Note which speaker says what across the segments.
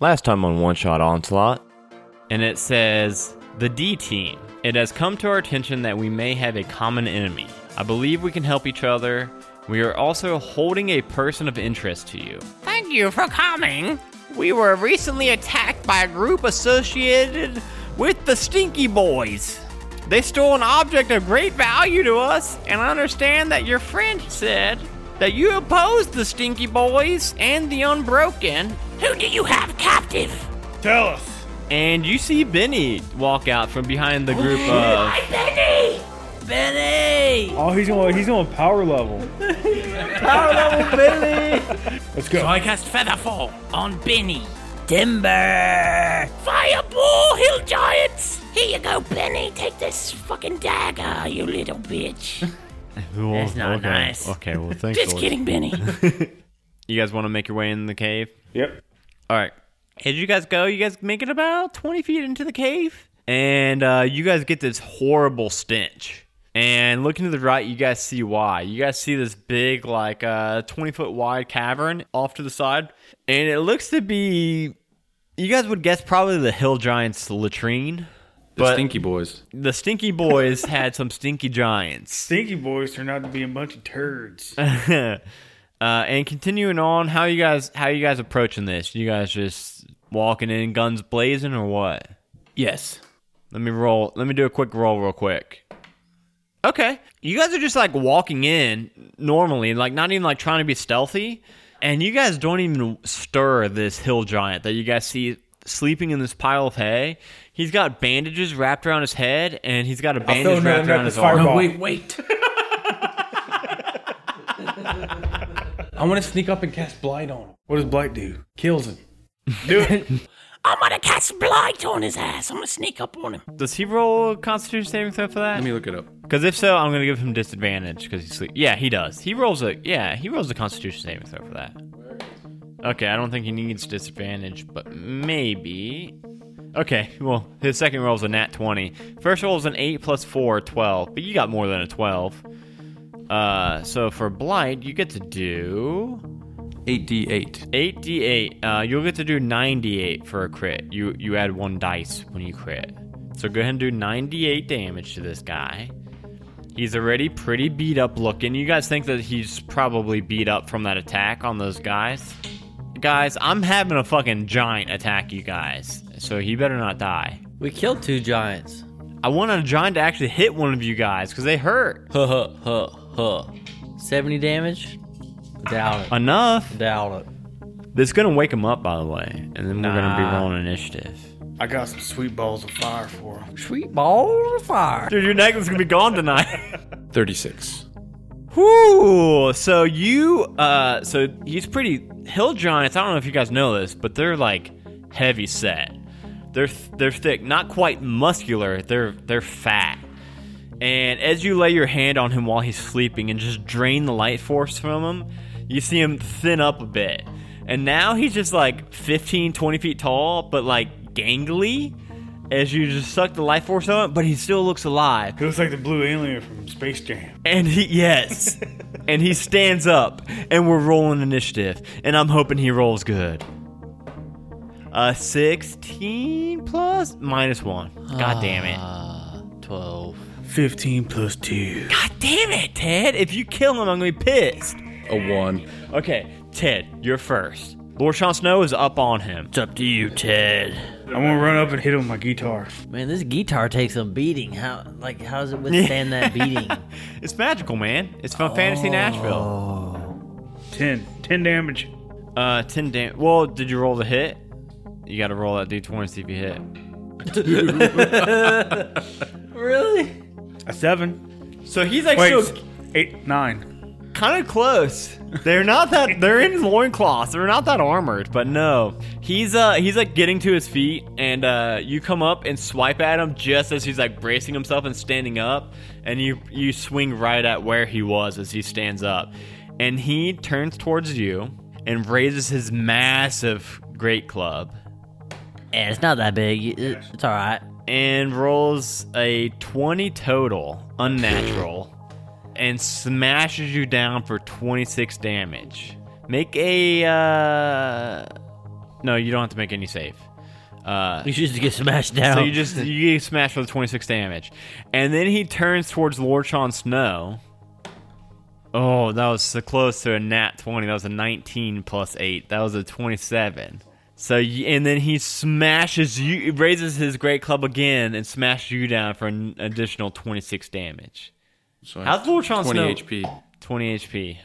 Speaker 1: Last time on One Shot Onslaught.
Speaker 2: and it says the D team. It has come to our attention that we may have a common enemy. I believe we can help each other. We are also holding a person of interest to you. Thank you for coming. We were recently attacked by a group associated with the Stinky Boys. They stole an object of great value to us, and I understand that your friend said that you opposed the Stinky Boys and the Unbroken. Who do you have captive?
Speaker 3: Tell us.
Speaker 2: And you see Benny walk out from behind the group of. Benny!
Speaker 3: Oh, he's going. He's going power level.
Speaker 2: Benny!
Speaker 3: Let's go.
Speaker 4: I cast Featherfall on Benny. Timber! Fireball, hill giants! Here you go, Benny. Take this fucking dagger, you little bitch. That's not nice.
Speaker 2: Okay, well, thanks.
Speaker 4: Just kidding, Benny.
Speaker 2: You guys want to make your way in the cave?
Speaker 3: yep.
Speaker 2: All right. As you guys go, you guys make it about 20 feet into the cave. And uh, you guys get this horrible stench. And looking to the right, you guys see why. You guys see this big, like, uh, 20 foot wide cavern off to the side. And it looks to be, you guys would guess, probably the Hill Giants' latrine. But
Speaker 5: Stinky boys.
Speaker 2: the Stinky Boys had some Stinky Giants.
Speaker 3: Stinky boys turned out to be a bunch of turds.
Speaker 2: uh, and continuing on, how you guys how you guys approaching this? You guys just walking in guns blazing or what?
Speaker 5: Yes.
Speaker 2: Let me roll. Let me do a quick roll real quick. Okay. You guys are just like walking in normally, like not even like trying to be stealthy. And you guys don't even stir this hill giant that you guys see sleeping in this pile of hay. He's got bandages wrapped around his head and he's got a bandage
Speaker 3: him
Speaker 2: wrapped
Speaker 3: at
Speaker 2: around
Speaker 3: the
Speaker 2: his arm.
Speaker 3: fireball.
Speaker 5: No, wait, wait. I want to sneak up and cast blight on him.
Speaker 3: what does Blight do?
Speaker 5: Kills him.
Speaker 3: Do it.
Speaker 4: I'm gonna cast Blight on his ass. I'm gonna sneak up on him.
Speaker 2: Does he roll a constitution saving throw for that?
Speaker 5: Let me look it up.
Speaker 2: Because if so, I'm gonna give him disadvantage because he's sleep. Yeah, he does. He rolls a yeah. He rolls a Constitution saving throw for that. Okay, I don't think he needs disadvantage, but maybe. Okay, well, his second roll is a nat 20. First roll is an 8 plus 4, 12, but you got more than a 12. Uh, so for Blight, you get to do
Speaker 5: 8d8.
Speaker 2: 8d8. Uh, you'll get to do 98 for a crit. You, you add one dice when you crit. So go ahead and do 98 damage to this guy. He's already pretty beat up looking. You guys think that he's probably beat up from that attack on those guys? Guys, I'm having a fucking giant attack you guys. So he better not die.
Speaker 6: We killed two giants.
Speaker 2: I want a giant to actually hit one of you guys because they hurt.
Speaker 6: Huh huh huh huh. Seventy damage? Doubt it.
Speaker 2: Enough.
Speaker 6: Doubt it.
Speaker 2: This is going to wake him up, by the way. And then we're going to be
Speaker 6: Nah.
Speaker 2: rolling initiative.
Speaker 3: I got some sweet balls of fire for him.
Speaker 6: Sweet balls of fire.
Speaker 2: Dude, your necklace is going to be gone tonight.
Speaker 5: 36.
Speaker 2: Whoo! So you, uh, so he's pretty hill giants. I don't know if you guys know this, but they're like heavy set. They're they're thick, not quite muscular. They're they're fat. And as you lay your hand on him while he's sleeping and just drain the light force from him, you see him thin up a bit. And now he's just like 15, 20 feet tall, but like gangly as you just suck the life force on him, but he still looks alive.
Speaker 3: He looks like the blue alien from Space Jam.
Speaker 2: And he yes. and he stands up and we're rolling initiative. And I'm hoping he rolls good. Uh sixteen plus minus one. God damn it.
Speaker 6: Ah. Twelve.
Speaker 3: 15 plus 2.
Speaker 2: God damn it, Ted. If you kill him, I'm gonna be pissed.
Speaker 5: A 1.
Speaker 2: Okay, Ted, you're first. Lord Sean Snow is up on him.
Speaker 6: It's up to you, Ted.
Speaker 3: I'm gonna run up and hit him with my guitar.
Speaker 6: Man, this guitar takes a beating. How like how does it withstand that beating? Oh.
Speaker 2: It's magical, man. It's from Fantasy Nashville.
Speaker 3: 10. 10 damage.
Speaker 2: Uh ten damn well, did you roll the hit? You gotta roll that D twenty see if you hit.
Speaker 6: really?
Speaker 3: A 7.
Speaker 2: So he's like
Speaker 3: Wait.
Speaker 2: still
Speaker 3: s- 8. 9.
Speaker 2: Kind of close. They're not that. They're in loincloths. They're not that armored. But no, he's uh he's like getting to his feet, and uh you come up and swipe at him just as he's like bracing himself and standing up, and you you swing right at where he was as he stands up, and he turns towards you and raises his massive great club
Speaker 6: Yeah, it's not that big. It- It's all right.
Speaker 2: and rolls a 20 total, unnatural, and smashes you down for 26 damage. Make a uh, No, you don't have to make any save. Uh,
Speaker 6: You should just get smashed down.
Speaker 2: so you just you get smashed with 26 damage, and then he turns towards Lord Sean Snow. Oh, that was so close to a nat 20. That was a 19 plus 8. That was a 27. So y- and then he smashes you, he raises his great club again and smashes you down for an additional 26 damage.
Speaker 7: So I
Speaker 2: How's Lord Sean
Speaker 7: have 20
Speaker 2: Snow?
Speaker 7: HP.
Speaker 2: 20 HP.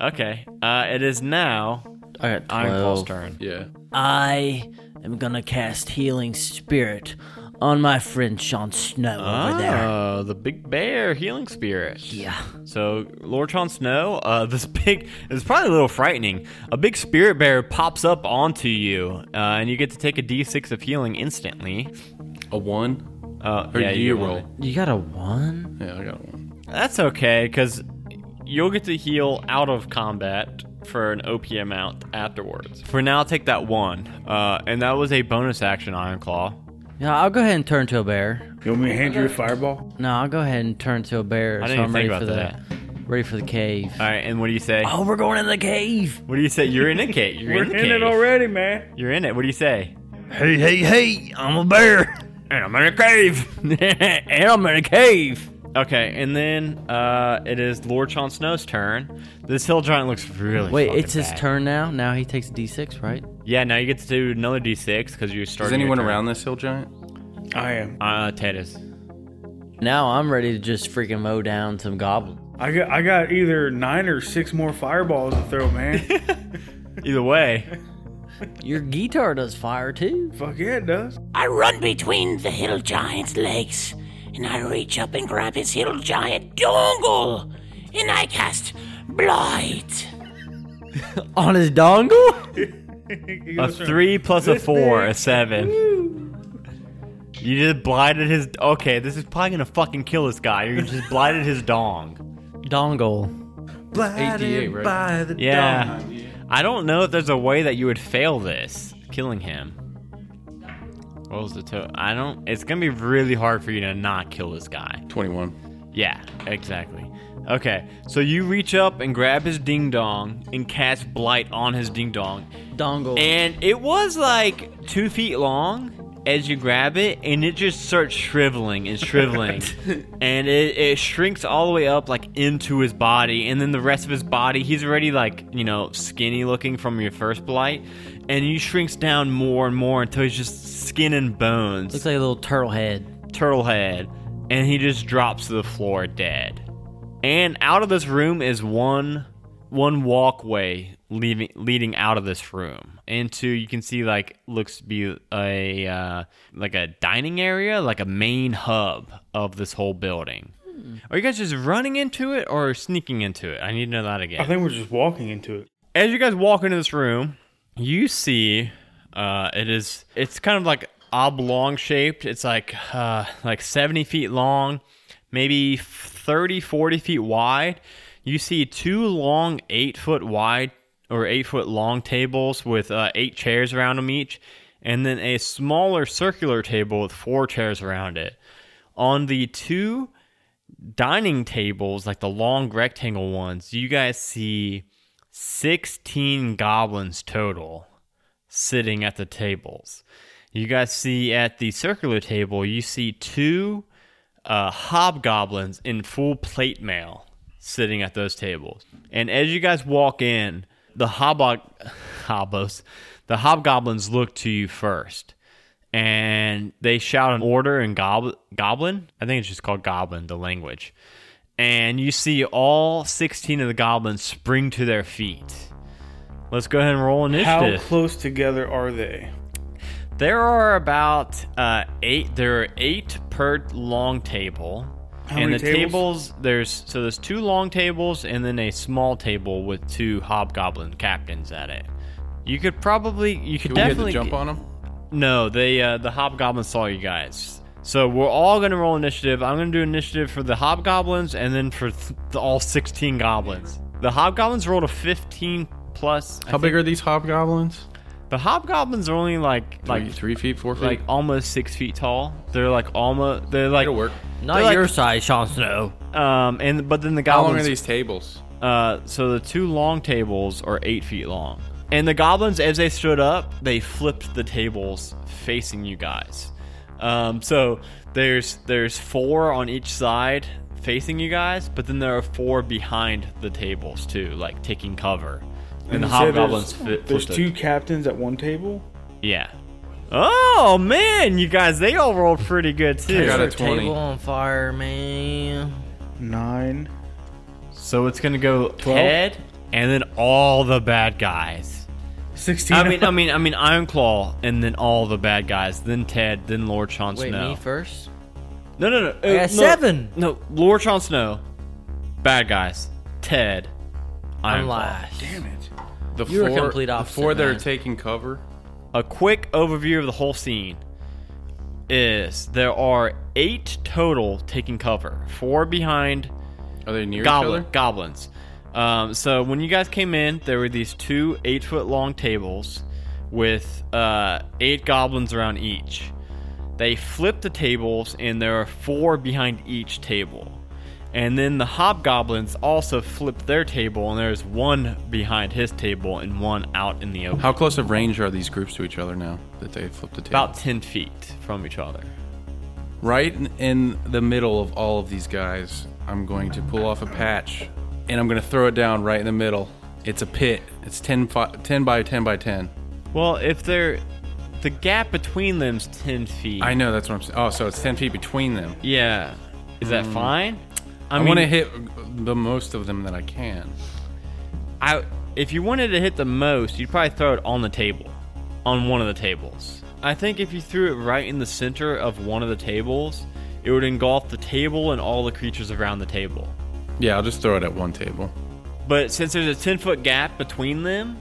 Speaker 2: Okay. Uh, it is now
Speaker 6: I got
Speaker 2: Ironclaw's
Speaker 6: 12.
Speaker 2: turn.
Speaker 7: Yeah.
Speaker 6: I am gonna cast healing spirit on my friend Sean Snow over there.
Speaker 2: Oh, the big bear healing spirit.
Speaker 6: Yeah.
Speaker 2: So, Lord Chon Snow, uh, this big, it's probably a little frightening. A big spirit bear pops up onto you, uh, and you get to take a d6 of healing instantly.
Speaker 7: A one?
Speaker 2: Uh,
Speaker 7: Or
Speaker 2: yeah,
Speaker 7: do
Speaker 2: you
Speaker 7: you
Speaker 2: get
Speaker 7: roll?
Speaker 2: one.
Speaker 6: You got a one?
Speaker 7: Yeah, I got one.
Speaker 2: That's okay, because you'll get to heal out of combat for an OP amount afterwards. For now, I'll take that one. Uh, and that was a bonus action, Iron Claw.
Speaker 6: Yeah, I'll go ahead and turn to a bear.
Speaker 3: You want me to hand you a fireball?
Speaker 6: No, I'll go ahead and turn to a bear.
Speaker 2: I
Speaker 6: so
Speaker 2: didn't
Speaker 6: I'm
Speaker 2: even
Speaker 6: ready
Speaker 2: think
Speaker 6: for
Speaker 2: about
Speaker 6: the ready for the cave.
Speaker 2: All right, and what do you say?
Speaker 6: Oh, we're going in the cave.
Speaker 2: What do you say? You're in it, Kate. You're
Speaker 3: We're
Speaker 2: in, the
Speaker 3: in
Speaker 2: cave.
Speaker 3: it already, man.
Speaker 2: You're in it. What do you say?
Speaker 6: Hey, hey, hey! I'm a bear.
Speaker 2: And I'm in a cave.
Speaker 6: and I'm in a cave.
Speaker 2: Okay, and then uh, it is Lord Chon Snow's turn. This hill giant looks really.
Speaker 6: Wait,
Speaker 2: fucking
Speaker 6: it's his
Speaker 2: bad.
Speaker 6: turn now. Now he takes a D6, right?
Speaker 2: Yeah, now you get to do another d6 because you started.
Speaker 7: Is anyone around this hill giant?
Speaker 3: I am.
Speaker 2: Uh, Titus.
Speaker 6: Now I'm ready to just freaking mow down some goblins.
Speaker 3: I got I got either nine or six more fireballs to throw, man.
Speaker 2: Either way,
Speaker 6: Your guitar does fire too.
Speaker 3: Fuck yeah, it does.
Speaker 4: I run between the hill giant's legs, and I reach up and grab his hill giant dongle, and I cast Blight.
Speaker 6: On his dongle?
Speaker 2: a three plus a four, a seven. You just blighted his. Okay, this is probably gonna fucking kill this guy. You just blighted his dong.
Speaker 6: Dongle.
Speaker 7: 88, right?
Speaker 2: Yeah. I don't know if there's a way that you would fail this, killing him. What was the to? I don't. It's gonna be really hard for you to not kill this guy.
Speaker 7: 21.
Speaker 2: Yeah, exactly. Okay, so you reach up and grab his ding dong and cast blight on his ding dong,
Speaker 6: Dongle.
Speaker 2: and it was like two feet long as you grab it, and it just starts shriveling and shriveling, and it, it shrinks all the way up like into his body, and then the rest of his body, he's already like you know skinny looking from your first blight, and he shrinks down more and more until he's just skin and bones
Speaker 6: Looks like a little turtle head.
Speaker 2: turtle head, and he just drops to the floor dead. And out of this room is one one walkway leaving leading out of this room into you can see like looks to be a uh, like a dining area, like a main hub of this whole building. Are you guys just running into it or sneaking into it? I need to know that again
Speaker 3: I think we're just walking into it.
Speaker 2: as you guys walk into this room, you see uh, it is it's kind of like oblong shaped. It's like uh, like 70 feet long, maybe 30, 40 feet wide. You see two long eight foot wide or eight foot long tables with uh, eight chairs around them each, and then a smaller circular table with four chairs around it. On the two dining tables, like the long rectangle ones, you guys see 16 goblins total sitting at the tables. You guys see at the circular table, you see two uh, hobgoblins in full plate mail sitting at those tables. And as you guys walk in, the hobog- hobos, the hobgoblins look to you first. And they shout an order in gob- goblin. I think it's just called goblin, the language and you see all 16 of the goblins spring to their feet. Let's go ahead and roll
Speaker 3: How
Speaker 2: initiative.
Speaker 3: close together are they?
Speaker 2: there are about uh, eight. There are eight per long table.
Speaker 3: How
Speaker 2: and
Speaker 3: many
Speaker 2: the tables? there's so there's two long tables and then a small table with two hobgoblin captains at it. You could probably you could
Speaker 7: Do we get to
Speaker 2: definitely
Speaker 7: jump on him?
Speaker 2: no, they uh, the hobgoblins saw you guys. So we're all gonna roll initiative. I'm gonna do initiative for the hobgoblins and then for th- the- all 16 goblins. The hobgoblins rolled a 15 plus. I
Speaker 7: How big
Speaker 2: think-
Speaker 7: are these hobgoblins?
Speaker 2: the hobgoblins? Are only like
Speaker 7: Like
Speaker 2: like
Speaker 7: three feet, four feet?
Speaker 2: like almost six feet tall. They're like almost they're like
Speaker 7: It'll work.
Speaker 6: Not
Speaker 2: They're like-
Speaker 6: your size, Sean Snow.
Speaker 2: um and but then the
Speaker 7: How long are
Speaker 2: goblins
Speaker 7: these tables?
Speaker 2: uh so the two long tables are eight feet long. And the goblins, as they stood up, they flipped the tables facing you guys. Um, so there's there's four on each side facing you guys, but then there are four behind the tables too, like taking cover. And, the
Speaker 3: you said
Speaker 2: hobgoblins
Speaker 3: there's-
Speaker 2: fit.
Speaker 3: There's
Speaker 2: flipped
Speaker 3: two
Speaker 2: it.
Speaker 3: captains at one table.
Speaker 2: Yeah. Oh man, you guys, they all rolled pretty good
Speaker 7: I got
Speaker 2: too.
Speaker 7: a 20.
Speaker 6: Table on fire, man.
Speaker 3: Nine.
Speaker 2: So it's gonna go Ted, and then all the bad guys.
Speaker 3: 16.
Speaker 2: I mean, I mean, I mean, Iron Claw, and then all the bad guys, then Ted, then Lord Chon
Speaker 6: Wait,
Speaker 2: Snow.
Speaker 6: me first?
Speaker 2: no, no, no. uh,
Speaker 6: I got
Speaker 2: no.
Speaker 6: seven.
Speaker 2: No, Lord Chon Snow, bad guys, Ted, Iron
Speaker 6: I'm
Speaker 2: Claw.
Speaker 6: last.
Speaker 3: Damn it.
Speaker 7: The
Speaker 6: You're a
Speaker 7: four,
Speaker 6: complete
Speaker 7: the
Speaker 6: opposite,
Speaker 7: four that are
Speaker 6: man.
Speaker 7: taking cover.
Speaker 2: A quick overview of the whole scene is there are eight total taking cover, four behind
Speaker 7: Are they near
Speaker 2: goblin,
Speaker 7: each other?
Speaker 2: goblins. Um, so when you guys came in, there were these two eight foot long tables with uh, eight goblins around each. They flipped the tables, and there are four behind each table. And then the hobgoblins also flipped their table, and there's one behind his table and one out in the open.
Speaker 7: How close of range are these groups to each other now that they flipped the table?
Speaker 2: About 10 feet from each other.
Speaker 7: Right in- in the middle of all of these guys, I'm going to pull off a patch and I'm going to throw it down right in the middle. It's a pit. It's 10, fi- 10 by 10 by 10.
Speaker 2: Well, if they're. The gap between them's 10 feet.
Speaker 7: I know that's what I'm saying. Oh, so it's 10 feet between them.
Speaker 2: Yeah. Is that fine?
Speaker 7: I,
Speaker 2: mean-
Speaker 7: want to hit the most of them that I can.
Speaker 2: I if you wanted to hit the most, you'd probably throw it on the table, on one of the tables. I think if you threw it right in the center of one of the tables, it would engulf the table and all the creatures around the table.
Speaker 7: Yeah, I'll just throw it at one table.
Speaker 2: But since there's a 10 foot gap between them,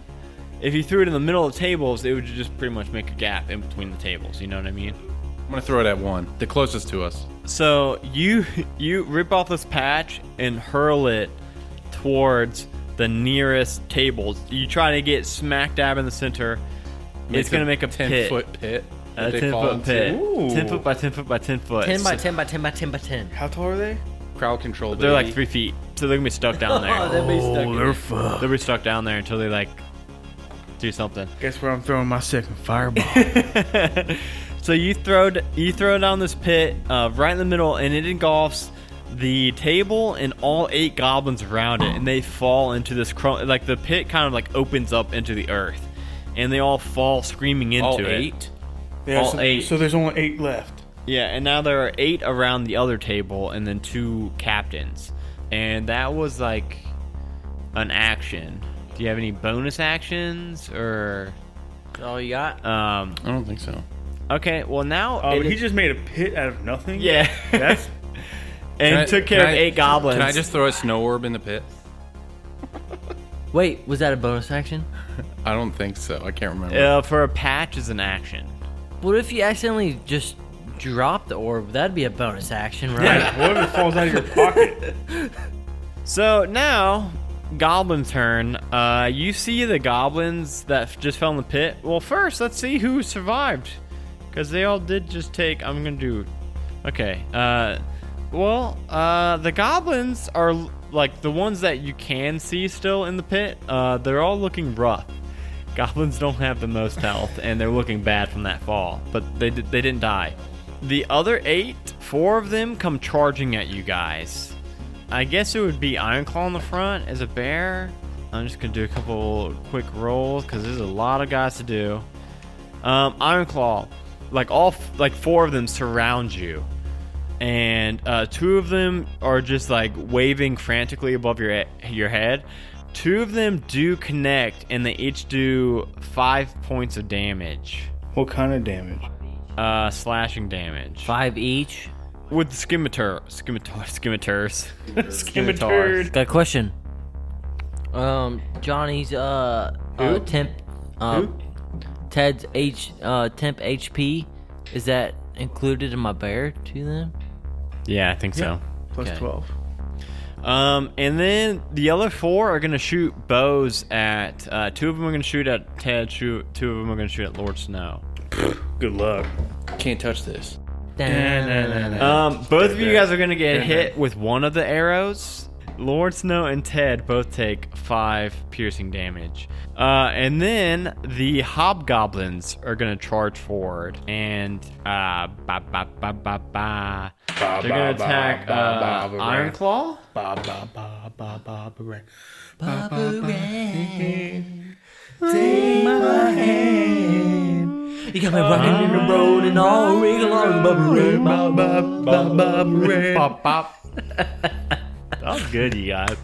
Speaker 2: if you threw it in the middle of the tables, it would just pretty much make a gap in between the tables. You know what I mean?
Speaker 7: I'm going to throw it at one, the closest to us.
Speaker 2: So you you rip off this patch and hurl it towards the nearest table. You try to get smack dab in the center. it's gonna make a
Speaker 7: 10
Speaker 2: pit.
Speaker 7: foot pit.
Speaker 2: A
Speaker 7: that they
Speaker 2: ten
Speaker 7: fall
Speaker 2: foot
Speaker 7: into.
Speaker 2: pit.
Speaker 3: Ooh.
Speaker 2: Ten foot by ten foot by ten foot.
Speaker 6: 10 by
Speaker 2: So
Speaker 6: 10 by 10 by 10 by 10.
Speaker 3: How tall are they?
Speaker 7: Crowd control.
Speaker 2: They're like
Speaker 7: baby.
Speaker 2: three feet, so they're gonna be stuck down there.
Speaker 6: Oh, That means stuck in it.
Speaker 2: they'll be stuck down there until they like do something.
Speaker 3: Guess where I'm throwing my second fireball.
Speaker 2: so you throw d- you throw down this pit uh, right in the middle, and it engulfs the table and all eight goblins around it, and they fall into this crumb. Like the pit kind of like opens up into the earth, and they all fall screaming into
Speaker 7: All
Speaker 2: it.
Speaker 7: eight?
Speaker 3: Yeah,
Speaker 2: All
Speaker 3: so,
Speaker 2: eight.
Speaker 3: So there's only eight left.
Speaker 2: Yeah, and now there are eight around the other table, and then two captains, and that was like an action. Do you have any bonus actions or?
Speaker 6: All you got?
Speaker 2: Um,
Speaker 7: I don't think so.
Speaker 2: okay, well now
Speaker 3: Uh,
Speaker 2: it
Speaker 3: but he
Speaker 2: is-
Speaker 3: just made a pit out of nothing.
Speaker 2: yeah.
Speaker 3: That's
Speaker 2: and
Speaker 7: Can I-
Speaker 2: took care
Speaker 7: can
Speaker 2: of
Speaker 7: I-
Speaker 2: eight goblins.
Speaker 7: Can I just throw a snow orb in the pit?
Speaker 6: Wait, was that a bonus action?
Speaker 7: I don't think so. I can't remember.
Speaker 2: uh, for a patch is an action?
Speaker 6: What if you accidentally just dropped the orb? That'd be a bonus action, right?
Speaker 3: yeah. Whatever falls out of your pocket.
Speaker 2: So now, goblin turn. Uh, you see the goblins that f- just fell in the pit. Well, first let's see who survived, because they all did just take. I'm gonna do. Okay. Uh, well, uh, the goblins are l- like the ones that you can see still in the pit. Uh, they're all looking rough. Goblins don't have the most health, and they're looking bad from that fall. But they did, they didn't die. The other eight, four of them come charging at you guys. I guess it would be Ironclaw in the front as a bear. I'm just gonna do a couple quick rolls because there's a lot of guys to do. Um, Ironclaw, like all f- like four of them surround you, and uh, two of them are just like waving frantically above your he- your head. Two of them do connect, and they each do five points of damage,
Speaker 3: what kind of damage?
Speaker 2: uh, slashing damage
Speaker 6: Five each.
Speaker 2: with the scimitar, scimitar, scimitars.
Speaker 3: Scimitar.
Speaker 6: Got a question. Um, Johnny's uh, uh temp, uh, Ted's H uh temp HP, is that included in my bear to them?
Speaker 2: Yeah, I think so.
Speaker 3: Plus
Speaker 6: Okay.
Speaker 3: 12.
Speaker 2: Um, and then the other four are gonna shoot bows at. Uh, two of them are gonna shoot at Ted. Shoot, two of them are gonna shoot at Lord Snow.
Speaker 3: Good luck.
Speaker 7: Can't touch this.
Speaker 6: Da-na-na-na.
Speaker 2: Um, both of you guys are gonna get hit with one of the arrows. Lord Snow and Ted both take five piercing damage. Uh, and then the hobgoblins are going to charge forward. And uh, ba, ba, ba, ba, ba. they're going to attack uh, Iron Claw.
Speaker 5: Ba ba ba ba ba ba. ba.
Speaker 6: You got me rocking and rolling all week long, bubba bubba.
Speaker 5: Bop, bop.
Speaker 2: That was good, you guys.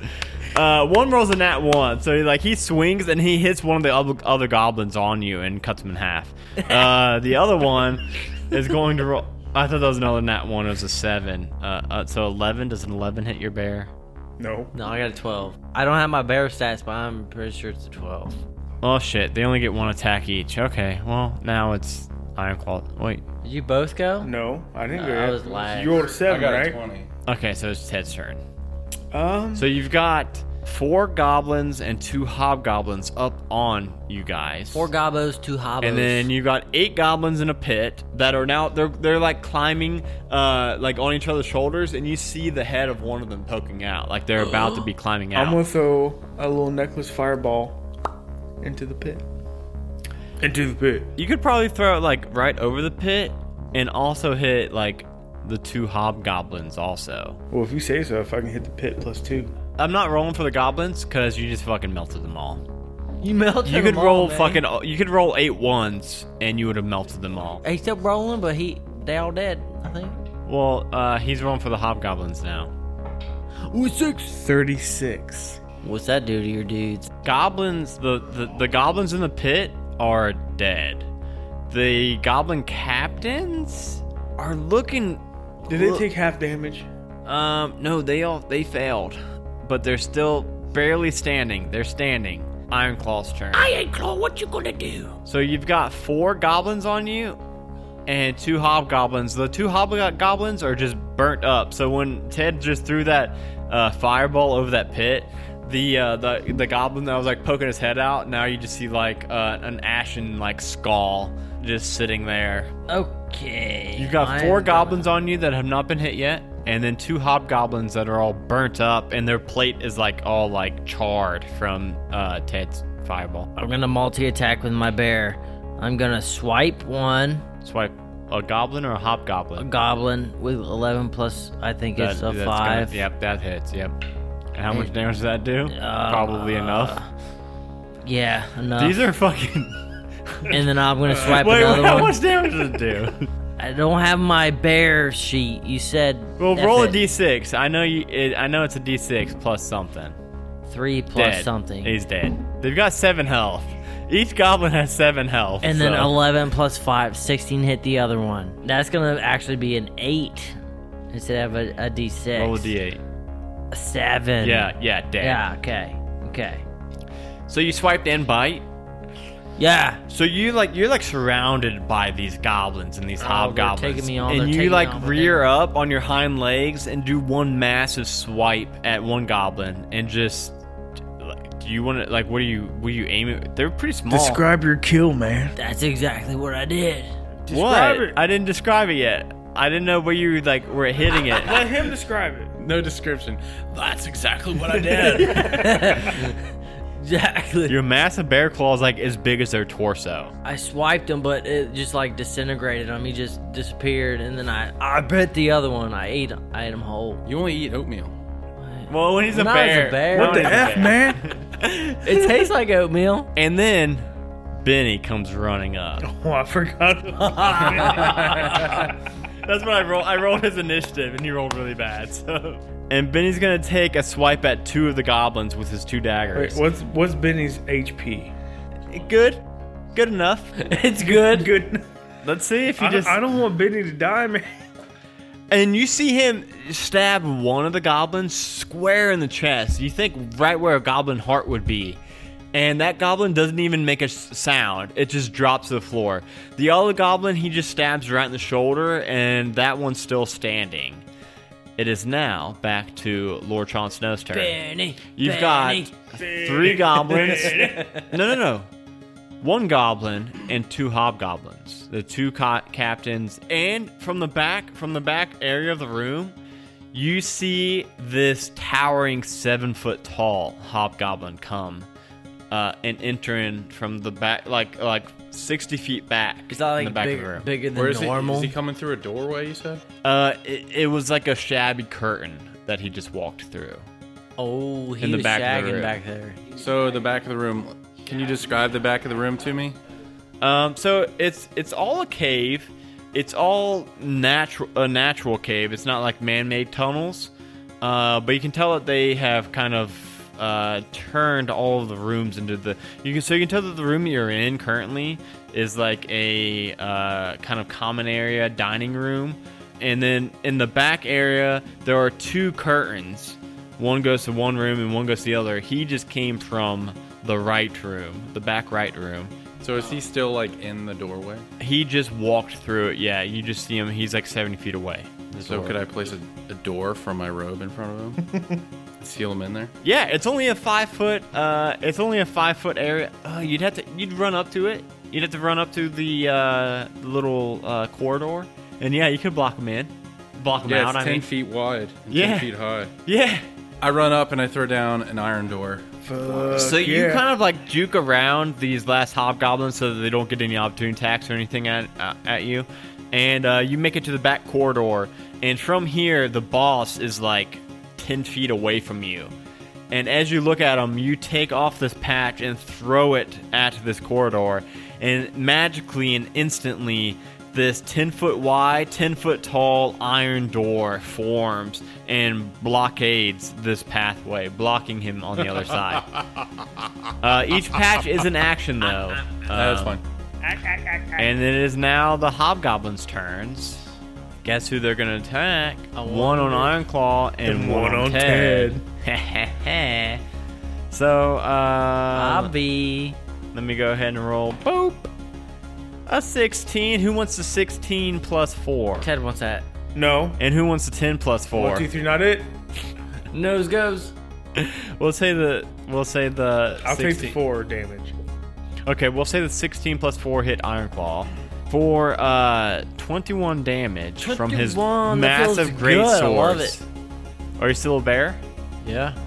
Speaker 2: Uh, one rolls a nat one, so he, like he swings and he hits one of the other, other goblins on you and cuts him in half. Uh, the other one is going to roll. I thought that was another nat one. It was a seven. Uh, uh, so eleven does an eleven hit your bear?
Speaker 3: No.
Speaker 6: No, I got a 12. I don't have my bear stats, but I'm pretty sure it's a 12.
Speaker 2: Oh shit! They only get one attack each. Okay, well now it's iron claw. Wait.
Speaker 6: Did you both go?
Speaker 3: No, I didn't go.
Speaker 6: I
Speaker 3: yet.
Speaker 6: was lying.
Speaker 3: You rolled a
Speaker 7: I
Speaker 3: seven,
Speaker 7: got a
Speaker 3: right?
Speaker 7: twenty.
Speaker 2: Okay, so it's Ted's turn.
Speaker 3: Um,
Speaker 2: So you've got four goblins and two hobgoblins up on you guys.
Speaker 6: Four gobos, two hobos.
Speaker 2: And then you got eight goblins in a pit that are now they're they're like climbing uh like on each other's shoulders and you see the head of one of them poking out like they're about to be climbing out.
Speaker 3: I'm gonna throw a little necklace fireball into the pit. Into the pit.
Speaker 2: you could probably throw it like right over the pit and also hit like the two hobgoblins also.
Speaker 3: Well, if you say so, if I can hit the pit plus two.
Speaker 2: I'm not rolling for the goblins cuz you just fucking melted them all.
Speaker 6: you melted
Speaker 2: You could
Speaker 6: them all,
Speaker 2: roll
Speaker 6: man.
Speaker 2: fucking you could roll eight ones and you would have melted them all.
Speaker 6: He's still rolling, but he they all dead. I think.
Speaker 2: Well, uh he's rolling for the hobgoblins now.
Speaker 6: Ooh, six.
Speaker 3: Thirty-six.
Speaker 6: What's that do to your dudes?
Speaker 2: goblins the, the the goblins in the pit are dead the goblin captains are looking
Speaker 3: Did they take half damage?
Speaker 2: um no they all they failed but they're still barely standing they're standing iron claw's turn
Speaker 4: I ain't claw. What you gonna do?
Speaker 2: so you've got four goblins on you and two hobgoblins the two hobgoblins are just burnt up so when ted just threw that uh, fireball over that pit the, uh, the the goblin that was like poking his head out now you just see like uh, an ashen like skull just sitting there
Speaker 6: Okay.
Speaker 2: you've got
Speaker 6: I
Speaker 2: four
Speaker 6: am
Speaker 2: goblins on you that have not been hit yet and then two hobgoblins that are all burnt up and their plate is like all like charred from uh, ted's fireball
Speaker 6: gonna- I'm gonna multi attack with my bear. I'm gonna swipe one
Speaker 2: swipe a goblin or a hobgoblin
Speaker 6: goblin with 11 plus. I think
Speaker 2: That-
Speaker 6: it's a
Speaker 2: that's
Speaker 6: five.
Speaker 2: Gonna, yep, that hits. Yep. And how much damage does that do?
Speaker 6: Uh,
Speaker 2: Probably enough.
Speaker 6: Yeah, enough.
Speaker 2: These are fucking.
Speaker 6: and then I'm gonna swipe
Speaker 2: Wait,
Speaker 6: another
Speaker 2: how
Speaker 6: one.
Speaker 2: much damage does it do?
Speaker 6: I don't have my bear sheet. You said.
Speaker 2: well,
Speaker 6: F
Speaker 2: roll a
Speaker 6: it.
Speaker 2: d6. I know you. It, I know it's a d6 plus something.
Speaker 6: Three plus
Speaker 2: Dead.
Speaker 6: something.
Speaker 2: He's dead. They've got seven health. Each goblin has seven health.
Speaker 6: And then
Speaker 2: so-
Speaker 6: 11 plus 5, 16 hit the other one. That's going to actually be an 8 instead of a, a d6.
Speaker 2: roll a d8.
Speaker 6: A 7.
Speaker 2: Yeah, yeah, dead.
Speaker 6: Yeah, okay. Okay.
Speaker 2: So you swiped and bite.
Speaker 6: Yeah.
Speaker 2: So you like you're like surrounded by these goblins and these
Speaker 6: Oh, they're
Speaker 2: hobgoblins,
Speaker 6: taking me on, they're
Speaker 2: and you
Speaker 6: taking
Speaker 2: like
Speaker 6: me on, but
Speaker 2: rear up on your hind legs and do one massive swipe at one goblin and just. like, Do you want to like? What are you? What are you aiming? They're pretty small.
Speaker 3: your kill, man.
Speaker 6: That's exactly what I did.
Speaker 2: what?
Speaker 3: describe it.
Speaker 2: I didn't describe it yet. I didn't know where you like were hitting it.
Speaker 3: Let him describe it.
Speaker 7: No description. That's exactly what I did.
Speaker 6: Exactly.
Speaker 2: your massive bear claw is like as big as their torso.
Speaker 6: I swiped him, but it just like disintegrated him. He just disappeared. And then I I bit the other one. I ate him, I ate him whole.
Speaker 7: you only eat oatmeal.
Speaker 2: Well, when he's a
Speaker 6: Not as a
Speaker 2: bear.
Speaker 6: bear.
Speaker 2: when
Speaker 6: What
Speaker 2: he's a
Speaker 3: F,
Speaker 2: bear.
Speaker 3: man.
Speaker 6: It tastes like oatmeal.
Speaker 2: And then Benny comes running up.
Speaker 3: Oh, I forgot.
Speaker 2: That's what I rolled. I rolled his initiative, and he rolled really bad. So, and Benny's gonna take a swipe at two of the goblins with his two
Speaker 3: Wait,
Speaker 2: daggers.
Speaker 3: what's what's Benny's HP?
Speaker 2: Good, good enough.
Speaker 6: It's good.
Speaker 3: Good.
Speaker 2: Let's see if he
Speaker 3: I,
Speaker 2: just.
Speaker 3: I don't want Benny to die, man.
Speaker 2: And you see him stab one of the goblins square in the chest. You think right where a goblin heart would be. And that goblin doesn't even make a s- sound. It just drops to the floor. The other goblin, he just stabs right in the shoulder, and that one's still standing. It is now back to Lord Chon Snow's turn.
Speaker 6: Benny.
Speaker 2: You've
Speaker 6: Benny.
Speaker 2: got three goblins. no, no, no. One goblin and two hobgoblins. The two co- captains, and from the back, from the back area of the room, You see this towering seven foot tall hobgoblin come uh, and enter in from the back, like like sixty feet back.
Speaker 6: Is that
Speaker 2: in the
Speaker 6: like
Speaker 2: back
Speaker 6: big,
Speaker 2: of the room.
Speaker 6: bigger than
Speaker 7: Where is
Speaker 6: normal?
Speaker 7: he? Is he coming through a doorway? You said.
Speaker 2: Uh, it, it was like a shabby curtain that he just walked through.
Speaker 6: oh, he
Speaker 2: in the
Speaker 6: was
Speaker 2: back of the
Speaker 6: shagging
Speaker 2: room.
Speaker 6: back there.
Speaker 7: So the back of the room. Can you describe the back of the room to me?
Speaker 2: Um, so it's it's all a cave. It's all natural a natural cave. It's not like man-made tunnels. Uh, but you can tell that they have kind of uh, turned all of the rooms into the you can so you can tell that the room you're in currently is like a uh, kind of common area dining room. And then in the back area there are two curtains. One goes to one room and one goes to the other. He just came from the right room, the back right room.
Speaker 7: So is he still like in the doorway?
Speaker 2: He just walked through it. Yeah, you just see him. He's like 70 feet away.
Speaker 7: So could I place a, a door from my robe in front of him? Seal him in there.
Speaker 2: Yeah, it's only a five foot. Uh, it's only a five foot area. Uh, you'd have to. You'd run up to it. You'd have to run up to the uh, little uh, corridor, and yeah, you could block him in, block him
Speaker 7: Yeah,
Speaker 2: out.
Speaker 7: it's
Speaker 2: I
Speaker 7: ten
Speaker 2: mean,
Speaker 7: feet wide. And
Speaker 2: Yeah.
Speaker 7: Ten feet high.
Speaker 2: yeah.
Speaker 7: I run up and I throw down an iron door.
Speaker 3: Fuck
Speaker 2: So you
Speaker 3: yeah.
Speaker 2: kind of like juke around these last hobgoblins so that they don't get any opportune attacks or anything at, uh, at you. And uh, you make it to the back corridor. And from here, the boss is like 10 feet away from you. And as you look at him, you take off this patch and throw it at this corridor. And magically and instantly, this 10 foot wide, 10 foot tall iron door forms and blockades this pathway, blocking him on the other side. Uh, each patch is an action, though.
Speaker 7: That's
Speaker 2: Um,
Speaker 7: fine.
Speaker 2: And it is now the hobgoblins' turns. Guess who they're gonna attack? One on Ironclaw and, one, on Ted. so, uh,
Speaker 6: I'll be.
Speaker 2: let me go ahead and roll. Boop. A 16. Who wants the 16 plus 4?
Speaker 6: Ted wants that.
Speaker 3: no.
Speaker 2: And who wants the 10 plus 4?
Speaker 3: One, two, three, not it.
Speaker 6: Nose goes.
Speaker 2: We'll say the we'll say the
Speaker 3: I'll
Speaker 2: 16.
Speaker 3: take the four damage.
Speaker 2: Okay, we'll say the 16 plus 4 hit Ironclaw for uh 21 damage from his
Speaker 6: 21, that feels
Speaker 2: massive
Speaker 6: good,
Speaker 2: great
Speaker 6: I
Speaker 2: sword.
Speaker 6: love it.
Speaker 2: Are you still a bear?
Speaker 6: Yeah.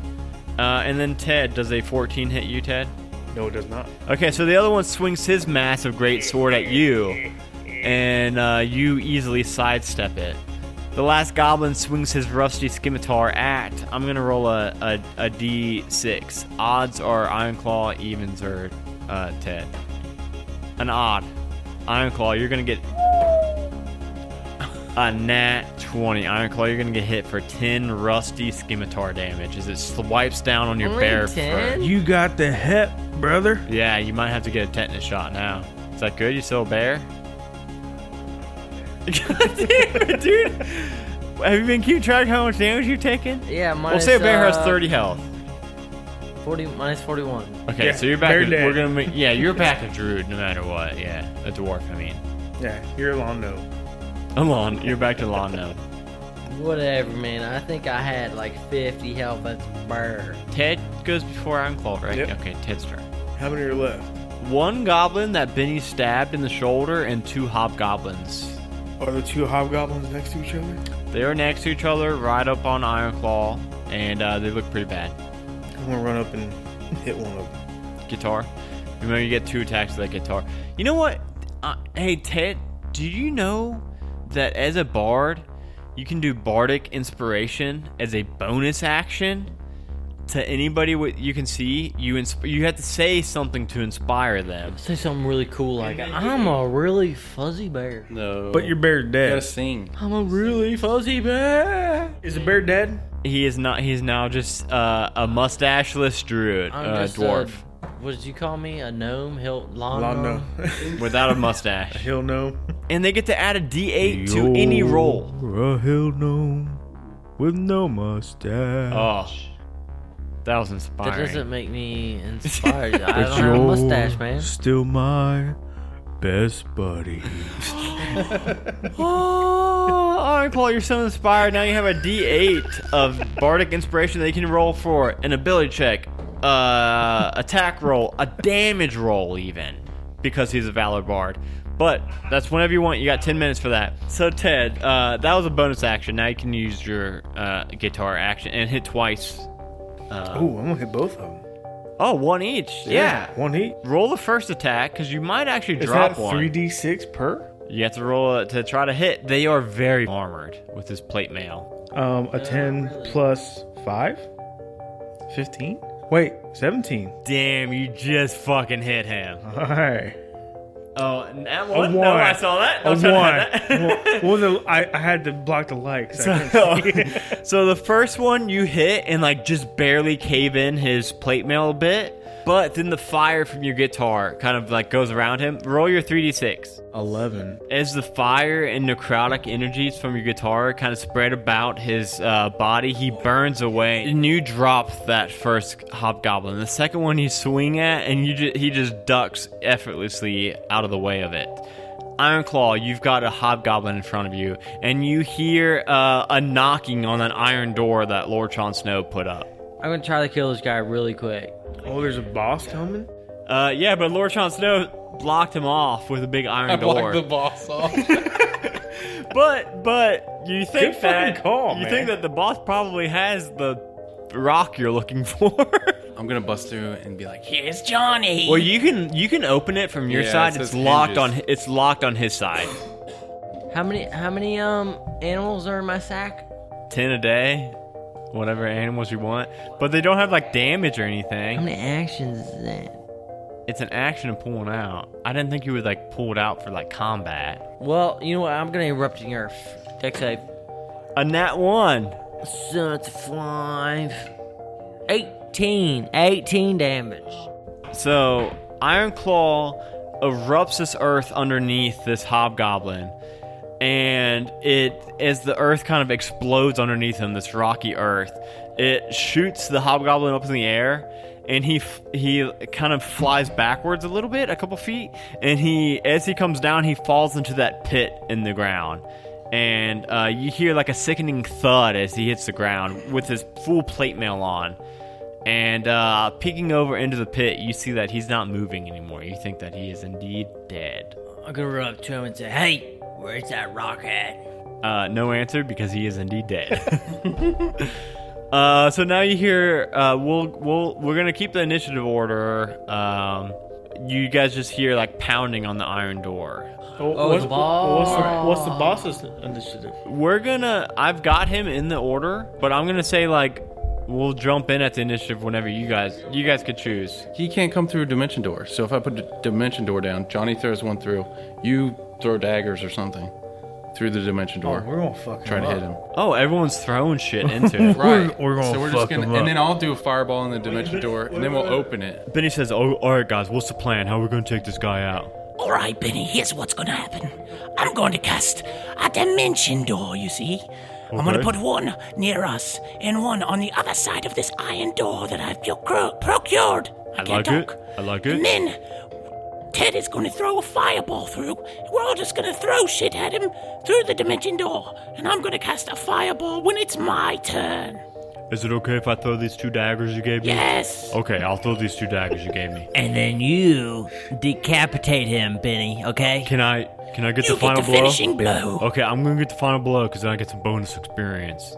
Speaker 2: Uh, and then Ted, does a 14 hit you, Ted?
Speaker 3: No, it does not.
Speaker 2: Okay, so the other one swings his massive great sword at you, and uh, you easily sidestep it. The last goblin swings his rusty scimitar at. I'm gonna roll a, a, a d6. Odds are Ironclaw, evens are uh, Ted. An odd. Ironclaw, you're gonna get a nat 20. Ironclaw, you're gonna get hit for 10 rusty scimitar damage as it swipes down on your
Speaker 6: Only
Speaker 2: bare
Speaker 6: 10?
Speaker 2: fur.
Speaker 3: You got the hep, brother.
Speaker 2: Yeah, you might have to get a tetanus shot now. Is that good? You still a bear? God damn it, dude! Have you been keeping track of how much damage you've taken?
Speaker 6: Yeah,
Speaker 2: We'll
Speaker 6: minus.
Speaker 2: say a bear has
Speaker 6: uh,
Speaker 2: 30 health.
Speaker 6: 40, minus 41.
Speaker 2: Okay,
Speaker 3: Yeah,
Speaker 2: so you're back.
Speaker 3: bear
Speaker 2: to- we're
Speaker 3: dead.
Speaker 2: gonna. Make, yeah, you're back a druid no matter what. Yeah, a dwarf. I mean,
Speaker 3: Yeah, you're a long no.
Speaker 2: Alon, you're back to Alon now.
Speaker 6: Whatever, man. I think I had like 50 health. That's burr.
Speaker 2: Ted goes before Ironclaw, right?
Speaker 3: Yep.
Speaker 2: Okay, Ted's turn.
Speaker 3: How many are left?
Speaker 2: One goblin that Benny stabbed in the shoulder, and two hobgoblins.
Speaker 3: Are the two hobgoblins next to each other?
Speaker 2: They are next to each other, right up on Ironclaw, and uh, they look pretty bad.
Speaker 3: I'm gonna run up and hit one of them.
Speaker 2: guitar. Remember, you get two attacks with that guitar. You know what? Uh, hey, Ted, do you know that as a bard, you can do bardic inspiration as a bonus action to anybody what you can see? You insp- you have to say something to inspire them.
Speaker 6: Say something really cool like, I'm a really fuzzy bear.
Speaker 7: No.
Speaker 3: But your bear
Speaker 7: You gotta
Speaker 3: dead.
Speaker 7: sing.
Speaker 6: I'm a really fuzzy bear.
Speaker 3: Is the bear dead?
Speaker 2: He is not. He's now just uh, a mustacheless druid,
Speaker 6: I'm
Speaker 2: uh,
Speaker 6: just
Speaker 2: dwarf
Speaker 6: A, what did you call me? A gnome? Hill? Long,
Speaker 3: Long no.
Speaker 6: gnome?
Speaker 2: without a mustache,
Speaker 3: He'll know.
Speaker 2: and they get to add a D8 to any roll.
Speaker 1: A hill gnome with no mustache.
Speaker 2: Oh, that was inspiring.
Speaker 6: That doesn't make me inspired. I don't have a mustache, man.
Speaker 1: Still my best buddy.
Speaker 2: Oh, all right, Paul, you're so inspired. Now you have a D8 of bardic inspiration that you can roll for an ability check, uh, attack roll, a damage roll, even because he's a valor bard. But that's whenever you want. You got 10 minutes for that. So, Ted, uh, that was a bonus action. Now you can use your uh, guitar action and hit twice.
Speaker 3: Ooh, I'm gonna hit both of them.
Speaker 2: Oh, one each. Yeah.
Speaker 3: One heat.
Speaker 2: Roll the first attack because you might actually
Speaker 3: Is
Speaker 2: drop
Speaker 3: that
Speaker 2: one.
Speaker 3: three d six per?
Speaker 2: You have to roll it to try to hit. They are very armored with this plate mail.
Speaker 3: Um, a ten plus five. Fifteen. Wait, seventeen.
Speaker 2: Damn, you just fucking hit him.
Speaker 3: All right.
Speaker 2: Oh, and that
Speaker 3: A
Speaker 2: one.
Speaker 3: one.
Speaker 2: No, I saw that.
Speaker 3: A
Speaker 2: No,
Speaker 3: one.
Speaker 2: I had that.
Speaker 3: well, well, the, I, I had to block the lights. I couldn't
Speaker 2: So,
Speaker 3: see it.
Speaker 2: so the first one you hit and like just barely cave in his plate mail a bit, but then the fire from your guitar kind of like goes around him. Roll your 3d6.
Speaker 3: Eleven.
Speaker 2: As the fire and necrotic energies from your guitar kind of spread about his uh, body, he burns away. And you drop that first hobgoblin. The second one you swing at, and you ju- he just ducks effortlessly out of the way of it. Ironclaw, you've got a hobgoblin in front of you, and you hear uh, a knocking on that iron door that Lord Chon Snow put up.
Speaker 6: I'm gonna try to kill this guy really quick.
Speaker 3: Oh, there's a boss coming.
Speaker 2: Uh, yeah, but Lord Chon Snow blocked him off with a big iron
Speaker 5: I
Speaker 2: door.
Speaker 5: blocked the boss off.
Speaker 2: But but you think
Speaker 3: Good fucking
Speaker 2: that
Speaker 3: call,
Speaker 2: you
Speaker 3: man.
Speaker 2: think that the boss probably has the rock you're looking for.
Speaker 7: I'm gonna bust through and be like,
Speaker 4: Here's Johnny.
Speaker 2: well, you can you can open it from your
Speaker 7: Yeah, it
Speaker 2: side.
Speaker 7: says
Speaker 2: It's locked
Speaker 7: hinges.
Speaker 2: on it's locked on his side.
Speaker 6: How many how many um animals are in my sack?
Speaker 2: Ten a day, whatever animals you want. But they don't have like damage or
Speaker 6: How
Speaker 2: anything.
Speaker 6: many actions is that?
Speaker 2: It's an action of pulling out. I didn't think you would like pull it out for like combat.
Speaker 6: Well, you know what? I'm gonna interrupt your deck save.
Speaker 2: A nat one.
Speaker 6: So it's five. 18. 18 damage.
Speaker 2: So Iron Claw erupts this earth underneath this hobgoblin, and it as the earth kind of explodes underneath him, this rocky earth, it shoots the hobgoblin up in the air, and he f- he kind of flies backwards a little bit, a couple feet, and he as he comes down, he falls into that pit in the ground. And uh, you hear like a sickening thud as he hits the ground with his full plate mail on. And uh, peeking over into the pit, you see that he's not moving anymore. You think that he is indeed dead.
Speaker 6: I'm gonna run up to him and say, hey, where's that rock at?
Speaker 2: Uh, no answer because he is indeed dead. uh, so now you hear uh, we'll we'll we're gonna keep the initiative order. Um, you guys just hear like pounding on the iron door.
Speaker 3: Oh,
Speaker 6: it's a boss.
Speaker 3: What's the, what's the boss's initiative?
Speaker 2: We're gonna. I've got him in the order, but I'm gonna say like we'll jump in at the initiative whenever you guys you guys could choose.
Speaker 7: he can't come through a dimension door. So if I put a dimension door down, Johnny throws one through. You throw daggers or something through the dimension door.
Speaker 3: Oh, We're gonna fuck
Speaker 7: try to hit him.
Speaker 2: Oh, everyone's throwing shit into it.
Speaker 7: Right.
Speaker 3: we're gonna
Speaker 7: so we're
Speaker 3: fuck
Speaker 7: just
Speaker 3: him
Speaker 7: gonna,
Speaker 3: up.
Speaker 7: and then I'll do a fireball in the dimension door, and then we'll open it.
Speaker 2: Benny says, "Oh, all right, guys, what's the plan? How are we gonna take this guy out?"
Speaker 4: All right, Benny, here's what's going to happen. I'm going to cast a dimension door, you see. I'm going to
Speaker 2: Okay.
Speaker 4: put one near us and one on the other side of this iron door that I've procur- procured. I, can't
Speaker 2: like it.
Speaker 4: talk.
Speaker 2: I like
Speaker 4: And
Speaker 2: it.
Speaker 4: then Ted is going to throw a fireball through. and We're all just going to throw shit at him through the dimension door. And I'm going to cast a fireball when it's my turn.
Speaker 2: Is it okay if I throw these two daggers you gave me?
Speaker 4: Yes.
Speaker 2: Okay, I'll throw these two daggers you gave me.
Speaker 4: Eh.
Speaker 6: And then you decapitate him, Benny, okay?
Speaker 2: Can I? Can I get
Speaker 4: You
Speaker 2: the final
Speaker 4: get the
Speaker 2: blow?
Speaker 4: finishing blow.
Speaker 2: Okay, I'm gonna get the final blow because then I get some bonus experience.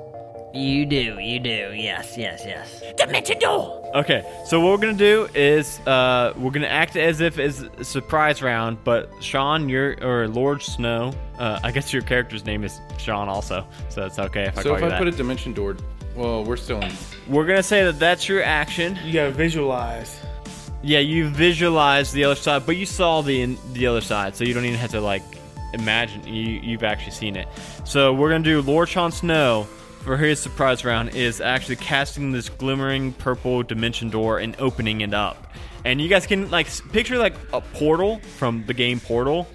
Speaker 6: You do, you do. Yes, yes, yes.
Speaker 2: Oh.
Speaker 4: Dimension door.
Speaker 2: Okay, so what we're gonna do is uh, we're gonna act as if it's a surprise round, but Sean, your or Lord Snow, uh, I guess your character's name is Sean also, so that's okay if I
Speaker 7: So
Speaker 2: call
Speaker 7: if
Speaker 2: you
Speaker 7: I
Speaker 2: that.
Speaker 7: put a dimension door, well, we're still in.
Speaker 2: we're gonna say that that's your action.
Speaker 3: You gotta visualize.
Speaker 2: Yeah, you visualized the other side, but you saw the the other side, so you don't even have to like imagine. You you've actually seen it. So we're gonna do Lord Chon Snow for his surprise round is actually casting this glimmering purple dimension door and opening it up. And you guys can like s- picture like a portal from the game Portal.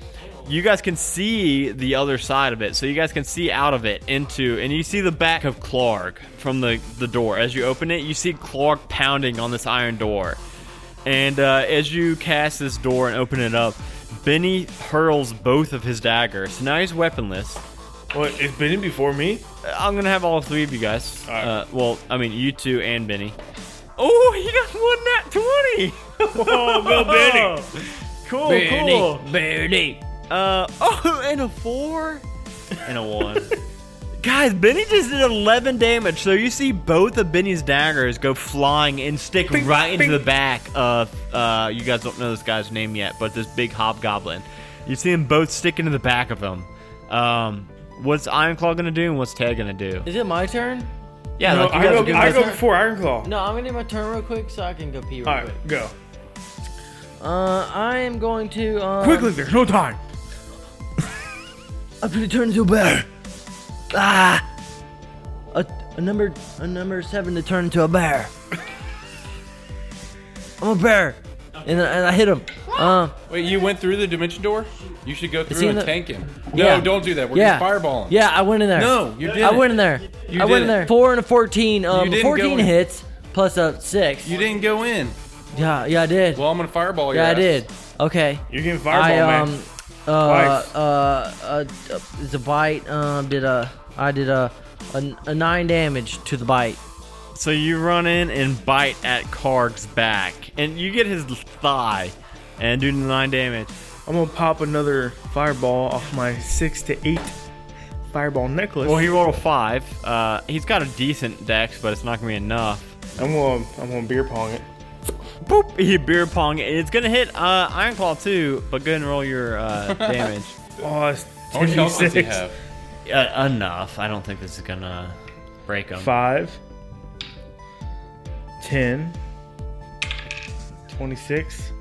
Speaker 2: You guys can see the other side of it, so you guys can see out of it into, and you see the back of Clark from the the door. As you open it, you see Clark pounding on this iron door. And uh, as you cast this door and open it up, Benny hurls both of his daggers. So now he's weaponless.
Speaker 3: What is Benny before me?
Speaker 2: Uh, I'm gonna have all three of you guys.
Speaker 3: right.
Speaker 2: Uh, well, I mean, you two and Benny. Oh, he got one nat twenty.
Speaker 3: Oh, go Benny!
Speaker 2: cool,
Speaker 6: Benny,
Speaker 2: cool.
Speaker 6: Benny.
Speaker 2: Uh oh, and a four, and a one. Guys, Benny just did 11 damage, so you see both of Benny's daggers go flying and stick right into the back of, uh, you guys don't know this guy's name yet, but this big hobgoblin. You see them both stick into the back of him. Um, what's Ironclaw gonna do and what's Ted gonna do?
Speaker 6: Is it my turn?
Speaker 2: Yeah,
Speaker 3: No,
Speaker 2: like you
Speaker 3: I
Speaker 2: guys
Speaker 3: go,
Speaker 2: are doing
Speaker 3: I
Speaker 2: this-
Speaker 3: go before Iron Claw.
Speaker 6: No, I'm gonna do my turn real quick so I can go pee real
Speaker 3: All right,
Speaker 6: quick.
Speaker 3: go
Speaker 6: Uh, I am going to um,
Speaker 3: quickly. There's no time.
Speaker 6: I'm gonna turn into a bear. Ah, a, a number a number seven to turn into a bear. I'm a bear, and I, and I hit him. Uh,
Speaker 7: Wait, you went through the dimension door? You should go
Speaker 6: he
Speaker 7: through
Speaker 6: in
Speaker 7: and
Speaker 6: the-
Speaker 7: tank him.
Speaker 6: yeah.
Speaker 7: No, don't do that. We're
Speaker 6: yeah,
Speaker 7: just fireballing.
Speaker 6: Yeah, I went in there.
Speaker 7: No, you
Speaker 6: I
Speaker 7: didn't.
Speaker 6: went in there.
Speaker 7: You
Speaker 6: I went
Speaker 7: didn't.
Speaker 6: in there. Four and a fourteen. Um,
Speaker 7: didn't go
Speaker 6: fourteen
Speaker 7: in.
Speaker 6: hits plus a six.
Speaker 7: You didn't go in.
Speaker 6: yeah, yeah, I did.
Speaker 7: Well, I'm gonna fireball your
Speaker 6: yeah, I
Speaker 7: ass.
Speaker 6: did. Okay.
Speaker 3: You can fireball,
Speaker 6: I um,
Speaker 3: man.
Speaker 6: uh, uh, uh, uh, the bite um did a I did a, a a nine damage to the bite.
Speaker 2: So you run in and bite at Karg's back, and you get his thigh and do nine damage.
Speaker 3: I'm gonna pop another fireball off my six to eight fireball necklace.
Speaker 2: Well, he rolled a five. Uh, he's got a decent dex, but it's not gonna be enough.
Speaker 3: I'm gonna I'm gonna beer pong it.
Speaker 2: Boop! He beer pong, and it's gonna hit uh, Iron Claw too. But go ahead and roll your uh, damage.
Speaker 3: Oh, it's
Speaker 7: How many health does he
Speaker 3: 10d6.
Speaker 7: have?
Speaker 2: uh, enough. I don't think this is gonna break him.
Speaker 3: Five, ten, twenty-six,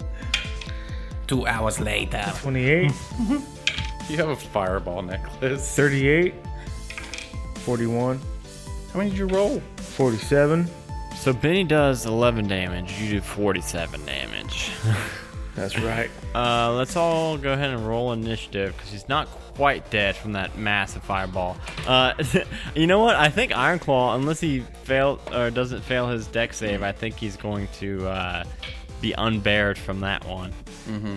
Speaker 4: Two hours later.
Speaker 3: twenty-eight,
Speaker 7: Hmm. You have a fireball necklace.
Speaker 3: thirty-eight, forty-one,
Speaker 7: How many did you roll?
Speaker 3: forty-seven.
Speaker 2: So Benny does 11 damage. You do 47 damage.
Speaker 3: That's right.
Speaker 2: Uh, let's all go ahead and roll initiative because he's not quite dead from that massive fireball. Uh, you know what? I think Ironclaw, unless he fail or doesn't fail his deck save, I think he's going to uh, be unbared from that one.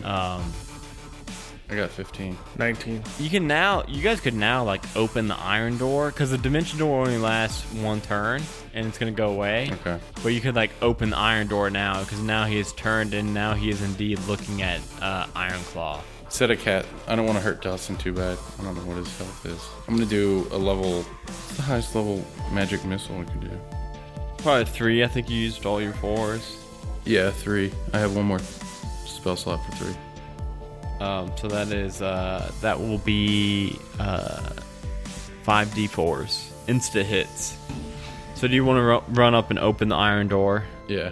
Speaker 2: Um,
Speaker 7: I got 15.
Speaker 3: Nineteen.
Speaker 2: you can now, you guys could now like open the iron door because the dimension door only lasts one turn and it's gonna go away.
Speaker 7: Okay.
Speaker 2: But you could like open the iron door now because now he is turned and now he is indeed looking at uh, Ironclaw.
Speaker 7: Said a cat. I don't want to hurt Dawson too bad. I don't know what his health is. I'm gonna do a level. What's the highest level magic missile we can do?
Speaker 2: Probably three. I think you used all your fours.
Speaker 7: Yeah, three. I have one more spell slot for three.
Speaker 2: Um, so that is uh, that will be uh, five d4s, insta hits. So do you want to ru- run up and open the iron door?
Speaker 7: Yeah.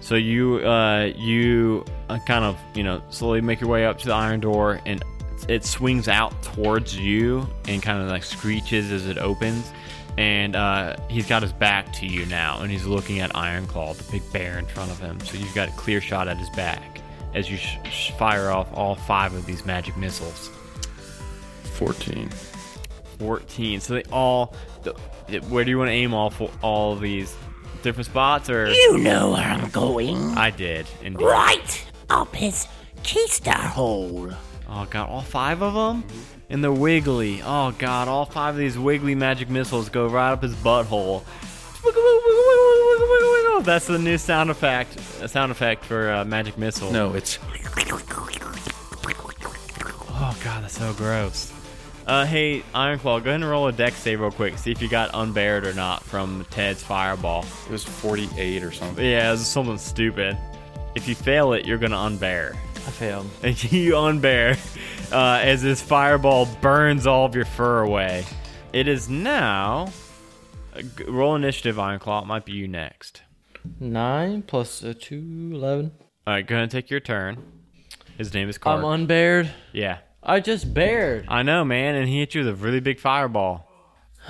Speaker 2: So you uh, you uh, kind of you know slowly make your way up to the iron door, and it swings out towards you and kind of like screeches as it opens. And uh, he's got his back to you now, and he's looking at Ironclaw, the big bear in front of him. So you've got a clear shot at his back as you sh- sh- fire off all five of these magic missiles.
Speaker 7: 14.
Speaker 2: 14. So they all. The, where do you want to aim all for all of these different spots? Or
Speaker 4: You know where I'm going.
Speaker 2: I did. Indeed.
Speaker 4: Right up his keister hole.
Speaker 2: Oh god, all five of them? And they're wiggly. Oh god, all five of these wiggly magic missiles go right up his butthole. Wiggle, wiggle, wiggle, wiggle, wiggle, wiggle, wiggle. That's the new sound effect. A sound effect for uh, magic missile.
Speaker 7: No, it's.
Speaker 2: Oh god, that's so gross. Uh, hey, Ironclaw, go ahead and roll a deck save real quick. See if you got unbared or not from Ted's fireball.
Speaker 7: It was 48 or something.
Speaker 2: Yeah, this is something stupid. If you fail it, you're gonna unbear.
Speaker 6: I failed.
Speaker 2: you unbear uh, as this fireball burns all of your fur away. It is now. Uh, g- roll initiative, Ironclaw. It might be you next.
Speaker 6: Nine plus a two, eleven.
Speaker 2: All right, go ahead and take your turn. His name is
Speaker 6: I'm
Speaker 2: Carl.
Speaker 6: unbared.
Speaker 2: yeah,
Speaker 6: I just bared.
Speaker 2: I know, man. And he hit you with a really big fireball.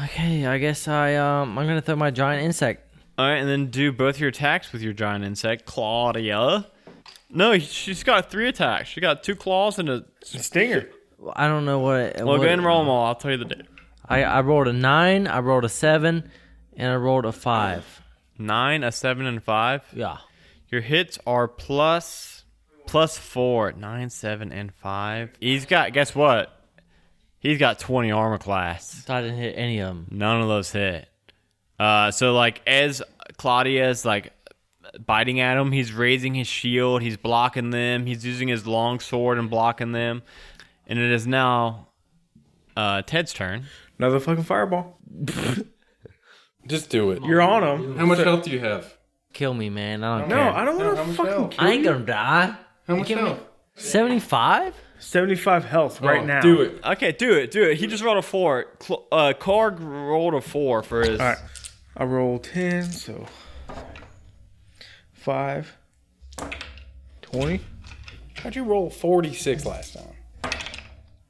Speaker 6: Okay, I guess I um I'm gonna throw my giant insect.
Speaker 2: All right, and then do both your attacks with your giant insect, Claudia. No, she's got three attacks. She got two claws and a.
Speaker 3: Stinger.
Speaker 6: I don't know what. It,
Speaker 2: Well,
Speaker 6: what
Speaker 2: go ahead and roll them all. I'll tell you the da-
Speaker 6: I I rolled a nine. I rolled a seven, and I rolled a five.
Speaker 2: nine, a seven, and a five.
Speaker 6: Yeah.
Speaker 2: Your hits are plus plus four, nine, seven, and five. He's got guess what? He's got twenty armor class.
Speaker 6: So I didn't hit any of them.
Speaker 2: None of those hit. Uh, so like as Claudia's like biting at him, he's raising his shield, he's blocking them, he's using his long sword and blocking them. and it is now uh, Ted's turn.
Speaker 3: Another fucking fireball.
Speaker 7: Just do it.
Speaker 3: You're on him.
Speaker 7: How much health do you have?
Speaker 6: Kill me, man. I don't
Speaker 3: No,
Speaker 6: care.
Speaker 3: I don't
Speaker 7: how
Speaker 3: want to
Speaker 7: much
Speaker 3: fucking
Speaker 7: health?
Speaker 3: kill
Speaker 6: I ain't
Speaker 3: you.
Speaker 6: gonna die.
Speaker 7: How much health?
Speaker 6: 75?
Speaker 3: 75 health right
Speaker 7: Oh,
Speaker 3: now.
Speaker 7: Do it.
Speaker 2: Okay, do it, do it. He just rolled a four. Cl- uh, Korg rolled a four for his.
Speaker 3: All right. I rolled 10, so 5, 20.
Speaker 7: How'd you roll 46 last time?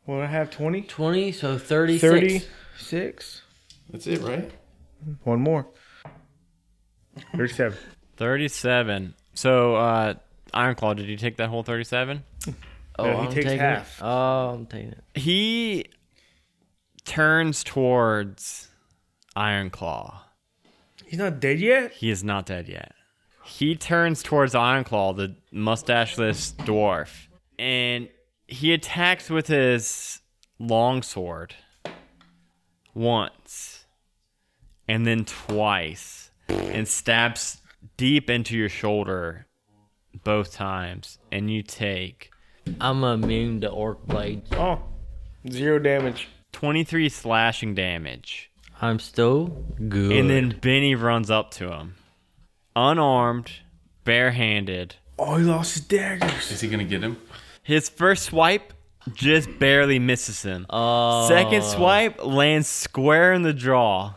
Speaker 3: Well, I have 20,
Speaker 6: 20, so 36.
Speaker 3: 36.
Speaker 7: That's it, right?
Speaker 3: One more. 37.
Speaker 2: 37. So, uh, Ironclaw, did you take that whole 37?
Speaker 6: Oh,
Speaker 3: No, he takes
Speaker 6: taking
Speaker 3: half.
Speaker 6: It. Oh, I'm taking it.
Speaker 2: He turns towards Ironclaw.
Speaker 3: He's not dead yet?
Speaker 2: He is not dead yet. He turns towards Ironclaw, the mustacheless dwarf, and he attacks with his longsword once and then twice and stabs deep into your shoulder both times. And you take
Speaker 6: I'm immune to orc blades.
Speaker 3: Oh, zero damage.
Speaker 2: 23 slashing damage.
Speaker 6: I'm still good.
Speaker 2: And then Benny runs up to him, unarmed, barehanded.
Speaker 3: Oh, he lost his daggers.
Speaker 7: Is he gonna get him?
Speaker 2: His first swipe just barely misses him. Second swipe lands square in the draw.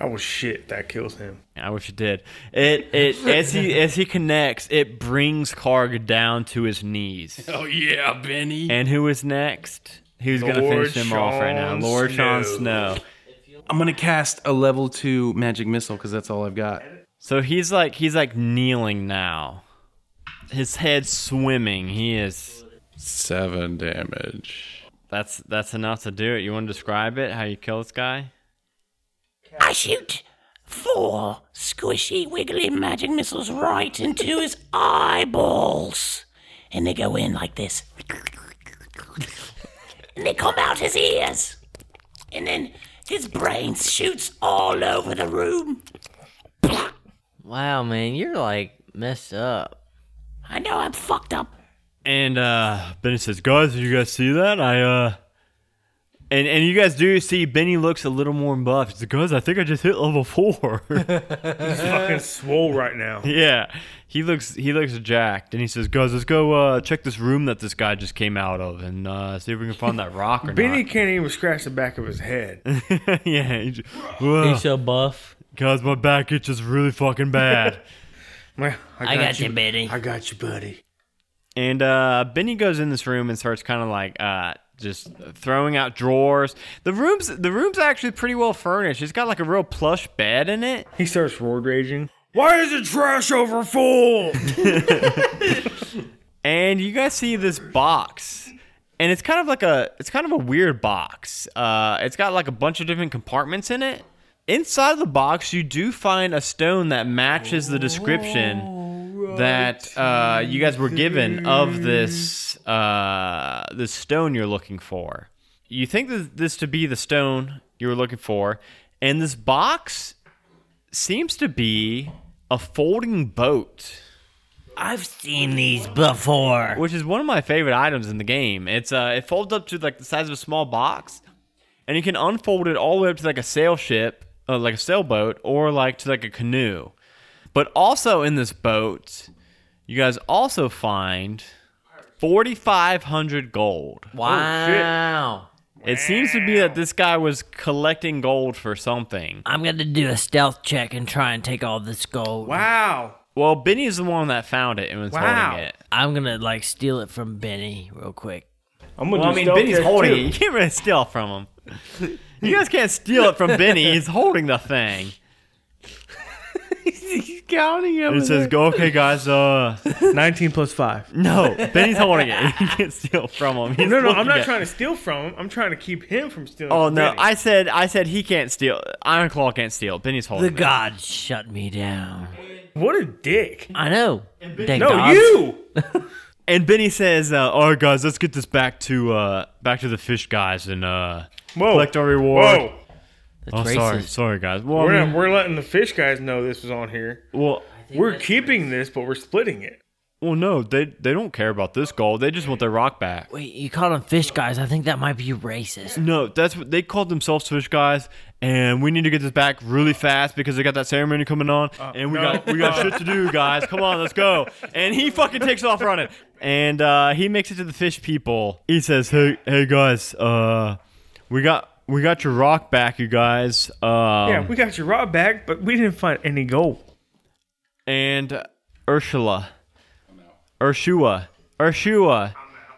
Speaker 3: Oh, shit. That kills him.
Speaker 2: I wish it did. It it as he as he connects, it brings Karg down to his knees.
Speaker 7: Oh yeah, Benny.
Speaker 2: And who is next? Who's gonna
Speaker 3: Lord
Speaker 2: finish him off right now?
Speaker 3: Sean
Speaker 2: Lord Sean
Speaker 3: Snow.
Speaker 2: Snow.
Speaker 7: I'm gonna cast a level two magic missile because that's all I've got.
Speaker 2: So he's like he's like kneeling now. His head swimming. He is
Speaker 7: Seven damage.
Speaker 2: that's that's enough to do it. You wanna describe it? How you kill this guy?
Speaker 4: I shoot four squishy, wiggly magic missiles right into his eyeballs. And they go in like this. And they come out his ears. And then his brain shoots all over the room.
Speaker 6: wow, man, you're like messed up.
Speaker 4: I know I'm fucked up.
Speaker 2: And uh Benny says, "Guys, did you guys see that? I uh." And and you guys do see Benny looks a little more buff. He's like, "Guys, I think I just hit level four.
Speaker 3: Fucking swole right now.
Speaker 2: yeah, he looks he looks jacked. And he says, "Guys, let's go uh, check this room that this guy just came out of and uh, see if we can find that rock or
Speaker 3: Benny can't even scratch the back of his head.
Speaker 2: not." yeah, he just, "Whoa,
Speaker 6: He's so buff.
Speaker 2: guys, my back itches really fucking bad.
Speaker 3: Well,
Speaker 4: I got you, Benny.
Speaker 3: I got you, buddy.
Speaker 2: And uh, Benny goes in this room and starts kind of like uh, just throwing out drawers. The room's the room's actually pretty well furnished. It's got like a real plush bed in it.
Speaker 3: He starts road raging. Why is the trash over full?
Speaker 2: And you guys see this box. And it's kind of like a it's kind of a weird box. Uh, it's got like a bunch of different compartments in it. Inside of the box, you do find a stone that matches the description that uh, you guys were given of this uh, this stone you're looking for. You think that this to be the stone you were looking for, and this box seems to be a folding boat.
Speaker 4: I've seen these
Speaker 3: Oh,
Speaker 4: before.
Speaker 2: which is one of my favorite items in the game. It's uh, it folds up to like the size of a small box, and you can unfold it all the way up to like a sail ship, uh, like a sailboat, or like to like a canoe. But also in this boat, you guys also find forty five hundred gold.
Speaker 6: Wow.
Speaker 2: It seems to be that this guy was collecting gold for something.
Speaker 6: I'm gonna do a stealth check and try and take all this gold.
Speaker 3: wow.
Speaker 2: Well, Benny's the one that found it and was
Speaker 3: Wow.
Speaker 2: holding it.
Speaker 6: I'm gonna like steal it from Benny real quick.
Speaker 3: I'm gonna
Speaker 2: Well, I
Speaker 3: do
Speaker 2: mean,
Speaker 3: stealth
Speaker 2: Benny's
Speaker 3: check,
Speaker 2: holding
Speaker 3: too.
Speaker 2: it. You can't really steal from him. You guys can't steal it from Benny. He's holding the thing.
Speaker 3: He's counting him.
Speaker 2: It says, "Go, okay, guys." Uh,
Speaker 3: 19 plus 5.
Speaker 2: no, Benny's holding it. You can't steal from him. He's
Speaker 3: No, no, I'm
Speaker 2: looking
Speaker 3: not
Speaker 2: at-
Speaker 3: trying to steal from him. I'm trying to keep him from stealing.
Speaker 2: Oh
Speaker 3: from
Speaker 2: no!
Speaker 3: Benny.
Speaker 2: I said, I said he can't steal. Ironclaw can't steal. Benny's
Speaker 6: The
Speaker 2: holding it.
Speaker 6: gods shut me down.
Speaker 3: What a dick.
Speaker 6: I know. Thank
Speaker 3: No,
Speaker 6: gods.
Speaker 3: you.
Speaker 2: And Benny says, uh, "All right, guys, let's get this back to uh, back to the fish guys and uh,
Speaker 3: Whoa.
Speaker 2: collect our reward." Mm.
Speaker 3: Whoa.
Speaker 6: That's
Speaker 2: Oh,
Speaker 6: racist.
Speaker 2: sorry, sorry, guys. Well,
Speaker 3: We're,
Speaker 2: I
Speaker 3: not,
Speaker 2: mean,
Speaker 3: we're letting the fish guys know this was on here.
Speaker 2: well,
Speaker 3: We're keeping this, but we're splitting it.
Speaker 2: Well, no, they they don't care about this goal. They just want their rock back.
Speaker 6: Wait, you call them fish guys. I think that might be racist.
Speaker 2: No, that's what they called themselves fish guys, and we need to get this back really fast because they got that ceremony coming on, and we got we got shit to do, guys. Come on, let's go. And he fucking takes off running, and uh, he makes it to the fish people. He says, "Hey, hey guys, uh, we got we got your rock back, you guys." Um,
Speaker 3: yeah, we got your rod back, but we didn't find any gold.
Speaker 2: and Ursula. Urshua. Urshua.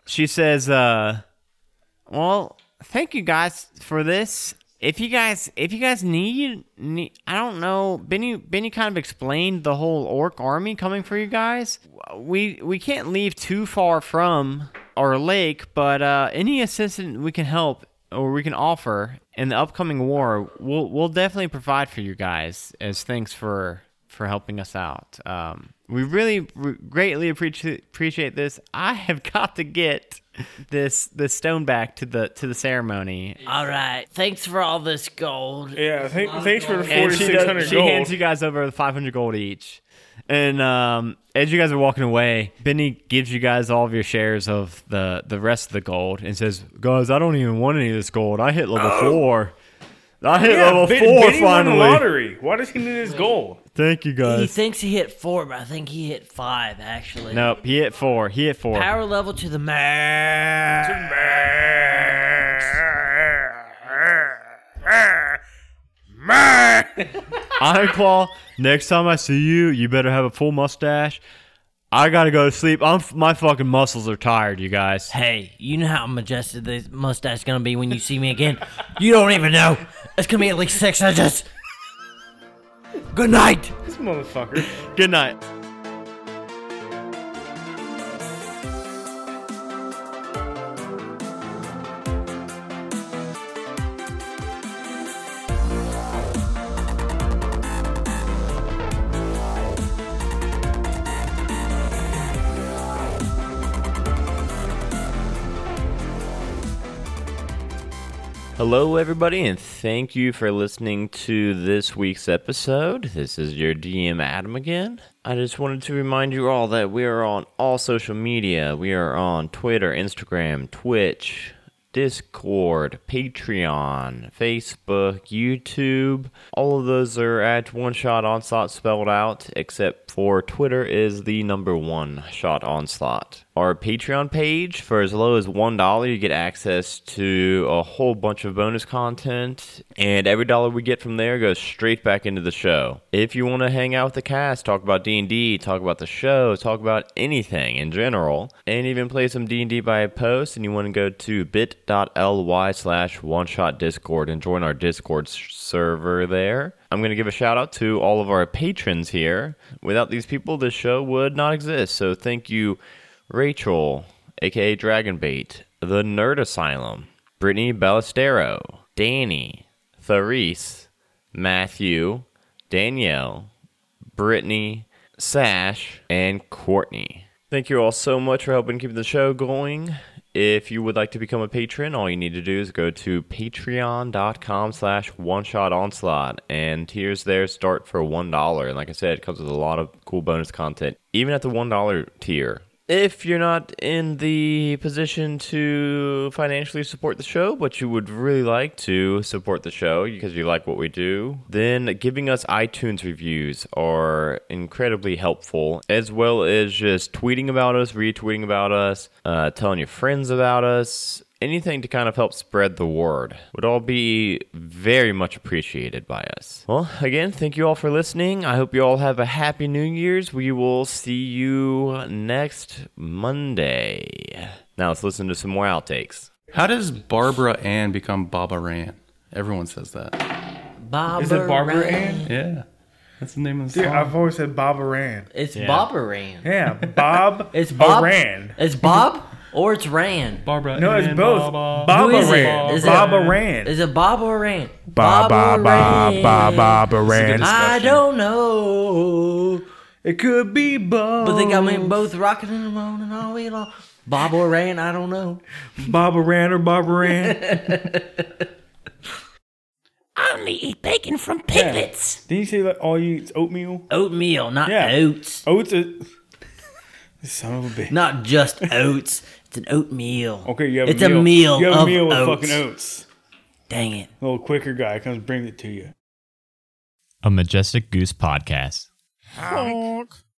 Speaker 2: She says, uh, well, thank you guys for this. If you guys, if you guys need, need, I don't know. Benny, Benny kind of explained the whole orc army coming for you guys. We we can't leave too far from our lake, but uh, any assistance we can help or we can offer in the upcoming war, we'll we'll definitely provide for you guys as thanks for for helping us out. Um, we really re- greatly appreciate appreciate this. I have got to get this this stone back to the to the ceremony.
Speaker 6: All right. Thanks for all this gold.
Speaker 3: Yeah, thank, thanks for the
Speaker 2: And she, does-
Speaker 3: 4,600
Speaker 2: she
Speaker 3: gold.
Speaker 2: hands you guys over the 500 gold each. And um, as you guys are walking away, Benny gives you guys all of your shares of the, the rest of the gold and says, Guys, I don't even want any of this gold. I hit level four. I hit
Speaker 3: Oh. yeah,
Speaker 2: level
Speaker 3: Ben-
Speaker 2: four
Speaker 3: Benny won the
Speaker 2: finally.
Speaker 3: lottery. Why does he need his gold?
Speaker 2: Thank you
Speaker 6: He
Speaker 2: guys.
Speaker 6: thinks he hit four, but I think he hit five, actually.
Speaker 2: nope, he hit four. He hit four.
Speaker 6: Power level to the max.
Speaker 2: Ironclaw, next time I see you, you better have a full mustache. I gotta go to sleep. I'm f- my fucking muscles are tired, you guys.
Speaker 6: Hey, you know how majestic this mustache is gonna be when you see me again? you don't even know. It's gonna be at least six inches. Good night.
Speaker 3: This motherfucker.
Speaker 2: Good night. Hello, everybody, and thank you for listening to this week's episode. This is your DM Adam again. I just wanted to remind you all that we are on all social media. We are on Twitter, Instagram, Twitch, Discord, Patreon, Facebook, YouTube. All of those are at One Shot Onslaught spelled out, except for Twitter is the number one shot onslaught. Our Patreon page, for as low as $1, you get access to a whole bunch of bonus content, and every dollar we get from there goes straight back into the show. If you want to hang out with the cast, talk about D&D, talk about the show, talk about anything in general, and even play some D&D by post, and you want to go to bit.ly slash one shot discord and join our Discord s- server there. I'm going to give a shout out to all of our patrons here. Without these people, this show would not exist. So thank you, Rachel, aka Dragonbait, The Nerd Asylum, Brittany Ballestero, Danny, Therese, Matthew, Danielle, Brittany, Sash, and Courtney. Thank you all so much for helping keep the show going. If you would like to become a patron, all you need to do is go to patreon.com slash one shot onslaught and tiers there start for one dollar. And like I said, it comes with a lot of cool bonus content. Even at the one dollar tier, if you're not in the position to financially support the show, but you would really like to support the show because you like what we do, then giving us iTunes reviews are incredibly helpful, as well as just tweeting about us, retweeting about us, uh, telling your friends about us, anything to kind of help spread the word would all be very much appreciated by us. Well, again, thank you all for listening. I hope you all have a happy New Year's. We will see you next Monday. Now let's listen to some more outtakes.
Speaker 7: How does Barbara Ann become Baba Ran? Everyone says that.
Speaker 6: Bobber
Speaker 3: Is it Barbara
Speaker 6: Ran.
Speaker 3: Ann?
Speaker 7: Yeah. That's the name of the
Speaker 3: Dude,
Speaker 7: song.
Speaker 3: I've always said Bob Aran.
Speaker 6: It's Bobber Ran.
Speaker 3: Yeah, Bob
Speaker 1: oh,
Speaker 6: It's Bob.
Speaker 3: Aran.
Speaker 6: It's Bob or it's Ran.
Speaker 7: Barbara
Speaker 3: No, it's
Speaker 7: Ann,
Speaker 3: both.
Speaker 7: Baba.
Speaker 3: Bob
Speaker 6: Who is it?
Speaker 3: Aran.
Speaker 6: Is it-
Speaker 3: Bob Aran.
Speaker 6: Is it Bob or Ran?
Speaker 1: Ba ba ba
Speaker 6: Ran.
Speaker 1: ba ba ba ran.
Speaker 6: I don't know.
Speaker 3: It could be Bob.
Speaker 6: But they
Speaker 3: Oh.
Speaker 6: got me both rocking and rolling all week long. Bob or Ran, I don't know.
Speaker 3: Bob Aran or Bob Aran.
Speaker 4: I only eat bacon from piglets.
Speaker 3: Did you say that all you eat is oatmeal?
Speaker 6: Oatmeal, not
Speaker 3: Yeah.
Speaker 6: oats.
Speaker 3: Oats is. Son of a bitch.
Speaker 6: Not just oats. It's an oatmeal.
Speaker 3: Okay, you have
Speaker 6: It's
Speaker 3: a
Speaker 6: a
Speaker 3: meal.
Speaker 6: meal
Speaker 3: You have a
Speaker 6: of
Speaker 3: meal with
Speaker 6: oats.
Speaker 3: fucking oats.
Speaker 6: Dang it.
Speaker 3: A little quicker guy comes bring it to you.
Speaker 2: A Majestic Goose podcast.
Speaker 8: Honk.